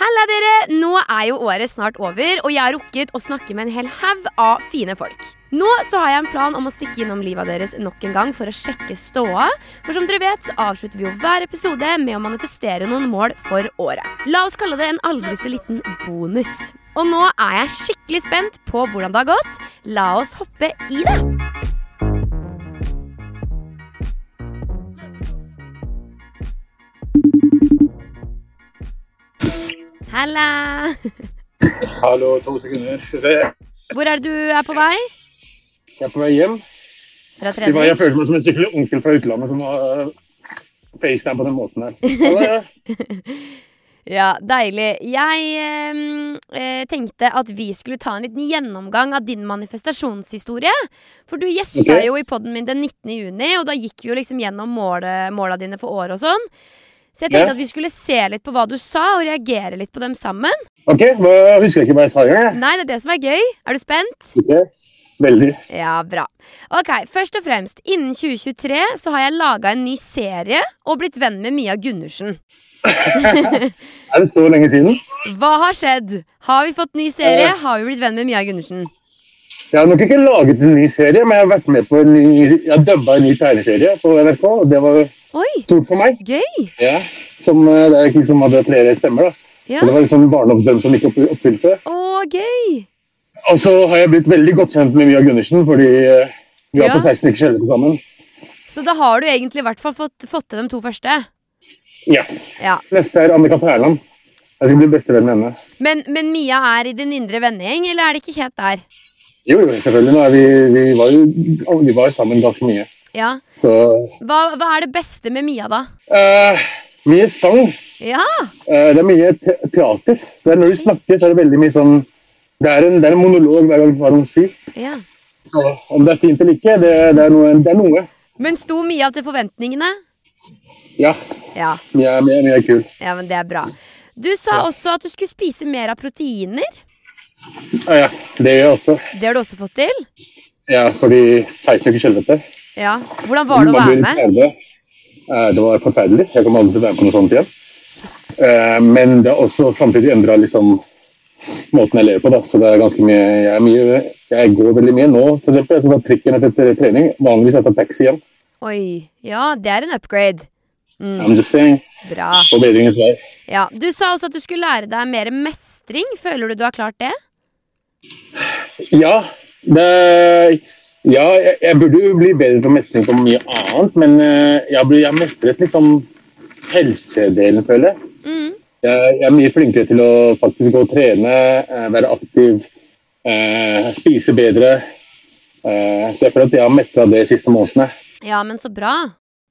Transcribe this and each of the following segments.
Halla dere! Nå er jo året snart over, og jeg har rukket å snakke med en hel haug av fine folk. Nå så har jeg en plan om å stikke innom livet deres nok en gang for å sjekke ståa. For som dere vet, så avslutter vi jo hver episode med å manifestere noen mål for året. La oss kalle det en aldri så liten bonus. Og nå er jeg skikkelig spent på hvordan det har gått. La oss hoppe i det! Halla! Hallo, to sekunder. Skal vi se. Hvor er det du er på vei? Jeg er på vei hjem. Fra Fy faen, Jeg trening? føler meg som en skikkelig onkel fra utlandet som har øh, FaceTime på den måten her. Hallo, ja. Ja, deilig. Jeg ehm, eh, tenkte at vi skulle ta en liten gjennomgang av din manifestasjonshistorie. For du gjesta Ok. jo i poden min den 19. juni, og da gikk vi jo liksom gjennom målet, måla dine for året og sånn. Så jeg Ja. tenkte at vi skulle se litt på hva du sa, og reagere litt på dem sammen. Ok, nå husker jeg ikke hva jeg sa engang. Nei, det er det som er gøy. Er du spent? jeg. Ok, Veldig. Ja, bra. Ok, Først og fremst, innen 2023 så har jeg laga en ny serie og blitt venn med Mia Gundersen. Er det så lenge siden? Hva har skjedd? Har vi fått ny serie? Eh. Har vi blitt venn med Mia Gundersen? Jeg har nok ikke laget en ny serie, men jeg har vært med på en ny, jeg har dubba en ny tegneserie på NRK, og det var Oi, stort for meg. gøy! Ja. Som øh, det er ikke liksom hadde flere stemmer, da. Ja. Så det var liksom barndomsdrøm som gikk opp i oppfyllelse. Å, gøy! Og så har jeg blitt veldig godt kjent med Mia Gundersen, fordi øh, vi var Ja. på 16 uker kjellere sammen. Så da har du egentlig i hvert fall fått, fått til de to første. Ja. Ja. Neste er Annika Perland. Jeg skal bli bestevenn med henne. Men, men Mia er i din indre vennegjeng, eller er det ikke helt der? Jo, jo, selvfølgelig. Nå er vi, vi, var jo, vi var jo sammen ganske mye. Ja. Så Hva, hva er det beste med Mia, da? eh, Mye sang. Ja! Eh, det er mye te- teater. Det er når du snakker, så er det veldig mye sånn Det er en, det er en monolog hver gang hva hun sier. ja. Så om det er fint eller ikke, det, det, er, noe, det er noe. Men sto Mia til forventningene? Ja. Ja. Mye er, mye, er- mye er kul. ja, men det er bra. Du sa også at du skulle spise mer av proteiner. Ah, Ja, ja, det gjør jeg også. Det har du også fått til? Ja, fordi 16 uker kjellete Ja. Hvordan var det å Man være Mm, blir med? ferdig. Eh, Det var forferdelig. Jeg kommer aldri til å være med på noe sånt igjen. Eh, Men det har også samtidig endra liksom, måten jeg lever på. Da. Så det er ganske mye jeg, er mye jeg går veldig mye nå. For eksempel, jeg skal ta trikken etter trening. Vanligvis jeg tar taxi hjem. Oi. Ja, det er en upgrade. I'm just saying. Bra. Forbedringens vei. Ja. Du sa også at du skulle lære deg mer mestring. Føler du du har klart det? Ja, det ja, jeg, jeg burde jo bli bedre på mestring på mye annet, men eh, jeg, blir- jeg har mestret liksom helsedelen, føler jeg. Mm. Jeg, jeg er mye flinkere til å faktisk gå og trene, eh, være aktiv, eh, spise bedre. Eh, så jeg føler at jeg har metra det de siste månedene. Ja, men så bra.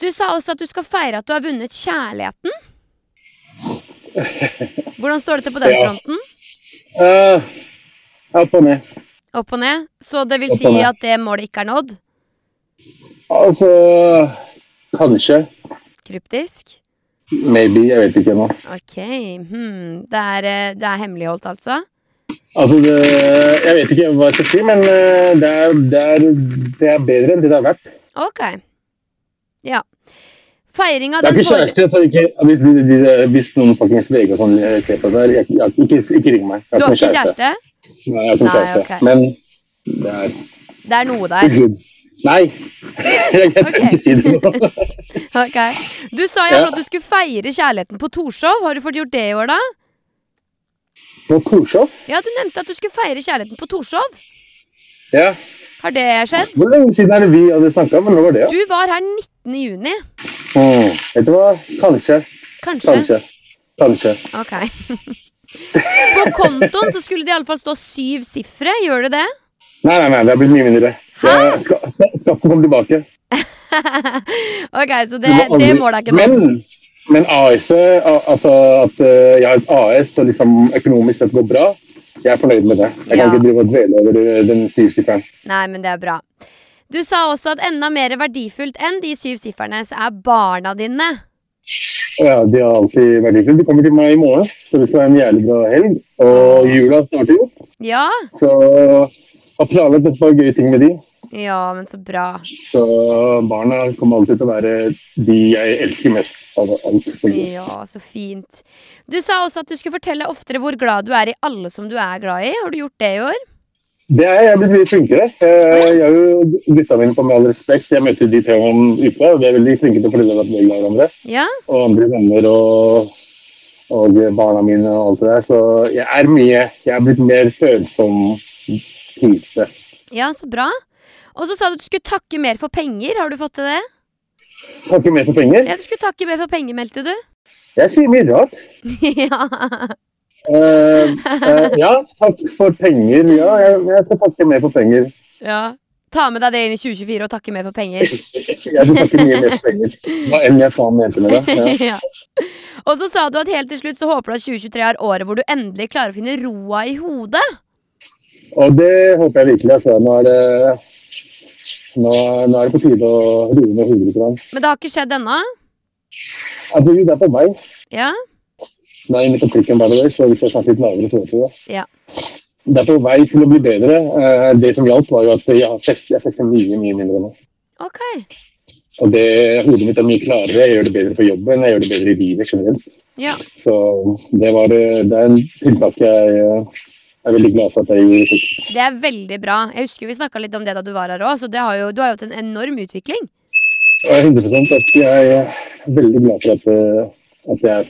Du sa også at du skal feire at du har vunnet kjærligheten. Hvordan står det til på den Ja. fronten? Eh, opp og ned. Opp og ned. Så det vil Opp og si ned. at det målet ikke er nådd? Altså Kanskje. Kryptisk? Maybe. Jeg vet ikke ennå. OK. Hmm. Det, er, eh, det er hemmeligholdt, altså? Altså, det, jeg vet ikke hva jeg skal si, men eh, det er, det er, det er bedre enn det det har vært. OK. Ja. Feiring av Det er den ikke kjæreste, så ikke, hvis, de, de, de, hvis noen fuckings VG og sånn eh, ser på det her, jeg, jeg, ikke, ikke ring meg. Jeg Du har ikke kjæreste? Nei, jeg har ikke noen Nei, kjæreste. ok. Men det er Det er noe it's der. good. Nei! Jeg kan Ok. ikke si det nå. Ok. Du sa jo Ja. at du skulle feire kjærligheten på Torshov. Har du fått gjort det i år, da? På Torshov? Ja, Du nevnte at du skulle feire kjærligheten på Torshov. Ja. Har det skjedd? Hvor lenge siden er det vi hadde snakka? Men hva var det? Du var her 19. juni. Mm. Vet du hva? Kanskje. Kanskje. Kanskje. Kanskje. Ok. På kontoen så skulle det iallfall stå syv sifre. Gjør det det? Nei, nei, nei, det har blitt mye mindre. Jeg skal, skal, skal ikke komme tilbake. Ok, så det, Du det må aldri- målet er ikke nådd. Men, men AS, eh, al- altså at eh, jeg har et AS og liksom økonomisk sett går bra, jeg er fornøyd med det. Jeg Ja. kan ikke drive og dvele over eh, den syvstikkeren. Nei, men det er bra. Du sa også at enda mer verdifullt enn de syv sifrene så er barna dine. Ja, de har alltid vært like. De kommer til meg i morgen, så det skal være en jævlig bra helg. Ah. Og jula starter jo, Ja? så jeg har planlagt et par gøye ting med de. Ja, men så bra. Så barna kommer alltid til å være de jeg elsker mest av alt. faktisk. Ja, så fint. Du sa også at du skulle fortelle oftere hvor glad du er i alle som du er glad i. Har du gjort det i år? Det er jeg blitt mye flinkere. Eh, Jeg har jo gutta mine på med all respekt. Jeg møter de tre om uka, og de er veldig flinke til å fortelle at de er glad i hverandre. Ja? Og andre venner og, og barna mine og alt det der. Så jeg er mye Jeg er blitt mer følsom type. Ja, så bra. Og så sa du at du skulle takke mer for penger. Har du fått til det? Kan ikke mer for penger. Ja, du skulle takke mer for penger, meldte du. Jeg sier mye rart. ja. Eh, eh, ja, takk for penger. Ja, jeg, jeg skal takke mer for penger. ja. Ta med deg det inn i 2024 og takke mer for penger. Jeg skal takke mye mer for penger. Hva enn jeg faen mente med det. Ja. ja. Og så sa du at helt til slutt så håper du at 2023 er året hvor du endelig klarer å finne roa i hodet. Og det håper jeg virkelig. Altså. Nå, er det, nå, nå er det på tide å roe ned hodet litt. grann. Men det har ikke skjedd ennå. Altså, jo, det er på vei. Ja? Nå er jeg inne på trikken, by the way, så hvis jeg snakker litt lavere, så vet du det. Ja. Det er på vei til å bli bedre. Eh, Det som hjalp, var jo at jeg har fest- jeg fester mye, mye mindre nå. Ok. Og det, Hodet mitt er mye klarere. Jeg gjør det bedre på jobben, jeg gjør det bedre i livet generelt. Ja. Så det, var, eh, det er en tiltak jeg eh, er veldig glad for at jeg gjorde. faktisk. Det er veldig bra. Jeg husker vi snakka litt om det da du var her òg, så det har jo, du har jo hatt en enorm utvikling. Jeg er 100 at Altså, jeg er veldig glad for at, eh, at jeg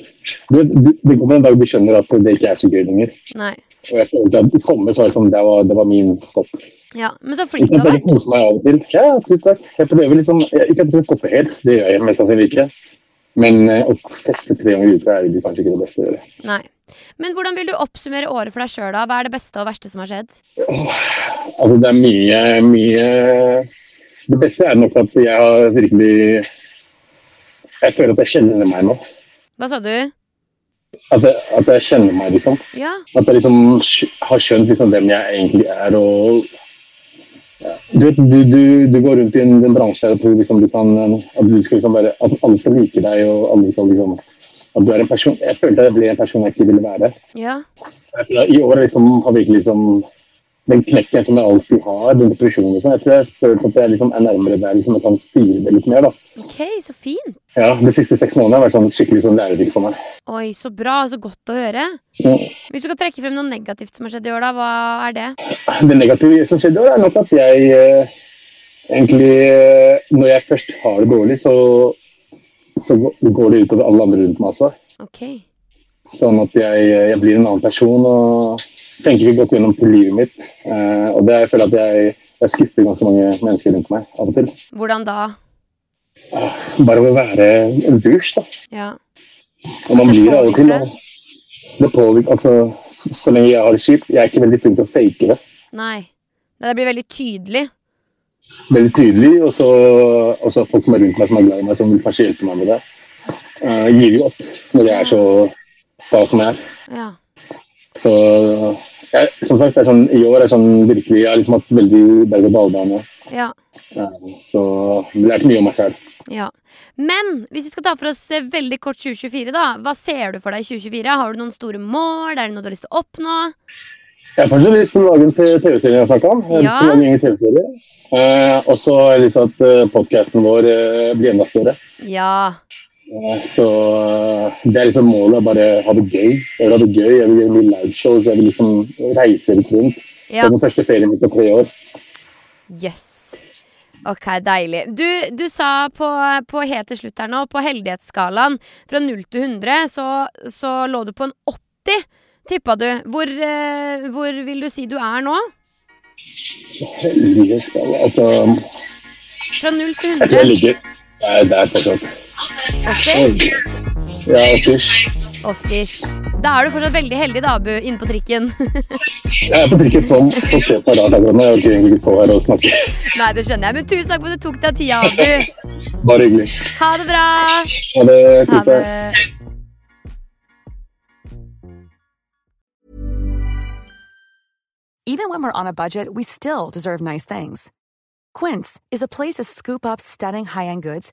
du, vet, du, Det kommer en dag du skjønner at det ikke er så gøy lenger. Nei. Og jeg følte at I sommer så var det sånn, det var, det var min stopp. Ja, Men så flink du Ikke at har jeg vært. ikke koser meg av og til. Ja, absolutt, takk. Jeg prøver liksom, jeg, Ikke at jeg skal stoppe helt, det gjør jeg mest sannsynlig ikke. Men eh, å feste tre ganger i uka er jo kanskje ikke det beste å gjøre. Nei. Men hvordan vil du oppsummere året for deg sjøl, da? Hva er det beste og verste som har skjedd? Altså, det er mye, mye Det beste er nok at jeg har virkelig Jeg føler at jeg kjenner meg nå. Hva sa du? At jeg, at jeg kjenner meg, liksom. Ja. At jeg liksom skj- har skjønt liksom hvem jeg egentlig er og ja. du, vet, du, du, du går rundt i en, en bransje og tror liksom du kan eh, At du skal liksom være, at alle skal like deg og alle skal liksom At du er en person Jeg følte jeg ble en person jeg ikke ville være. Ja. Jeg tror jeg- I år liksom, har virkelig liksom den knekken som jeg alltid har, den depresjonen og sånn, jeg tror jeg følte at jeg liksom er nærmere der liksom jeg kan styre det litt mer. da. Ok, så fint. Ja, De siste seks månedene har vært sånn skikkelig sånn lærerikt for meg. Oi, så bra. Så godt å høre. Mm. Hvis du skal trekke frem noe negativt som har skjedd i år, da, hva er det? Det negative som skjedde i år, er nok at jeg eh, egentlig eh, Når jeg først har det dårlig, så, så går det utover alle andre rundt meg også. Ok. Sånn at jeg, jeg blir en annen person og tenker ikke godt gjennom til livet mitt. Eh, og det er- jeg føler at jeg, jeg skuffer ganske mange mennesker rundt meg av og til. Hvordan da? Bare ved å være en dusj, da. Ja. Og man Det blir det av og til. påvirker og Det påvirker Altså, så- så lenge jeg har det kjipt. Jeg er ikke veldig flink til å fake det. Nei. Det blir veldig tydelig. veldig tydelig, og så, og så folk som er rundt meg som er glad i meg, som vil kanskje hjelpe meg med det. Eh, Jeg gir jo opp når jeg er så sta som jeg er. Ja. Så jeg, som sagt, det er sånn, i år er sånn virkelig Jeg har liksom hatt veldig berg-og-dal-bane. Ja. eh, Så jeg har lært mye om meg selv. Ja. Men hvis vi skal ta for oss eh, veldig kort 2024, da. Hva ser du for deg i 2024? Har du noen store mål? Er det noe du har lyst til å oppnå? Jeg har fortsatt lyst til å lage en TV-serie jeg har snakket om. Jeg Ja. har lyst til å lage en egen TV-serie. Eh, og så har jeg lyst til at eh, podcasten vår eh, blir enda større. Ja. Eh, Så eh, det er liksom målet. er Bare ha det gøy. Jeg vil ha det gøy. Jeg vil gjøre mye liveshows. Jeg vil liksom reise litt rundt. Det Ja. er den første ferien min på tre år. Yes. Ok, deilig. Du, du sa på, på helt til slutt her nå, på heldighetsskalaen fra 0 til 100, så, så lå du på en 80, tippa du. Hvor, eh, hvor vil du si du er nå? Heldige skal Altså, Fra 0 til jeg tror 100? jeg ligger Nei, det er fortsatt 80? Ja, fysj. 80-ish. Da er du fortsatt veldig heldig, da, Abu, inne på trikken. Jeg er på trikken sånn og ser på rart akkurat nå. Jeg orker egentlig ikke stå her og snakke. Nei, det skjønner jeg, men tusen takk for at du tok deg tida, Abu. Bare hyggelig. Ha det bra! Ha det. Ha Kos det. deg. Even when we're on a budget, we still deserve nice things. Quince is a place to scoop up stunning high-end goods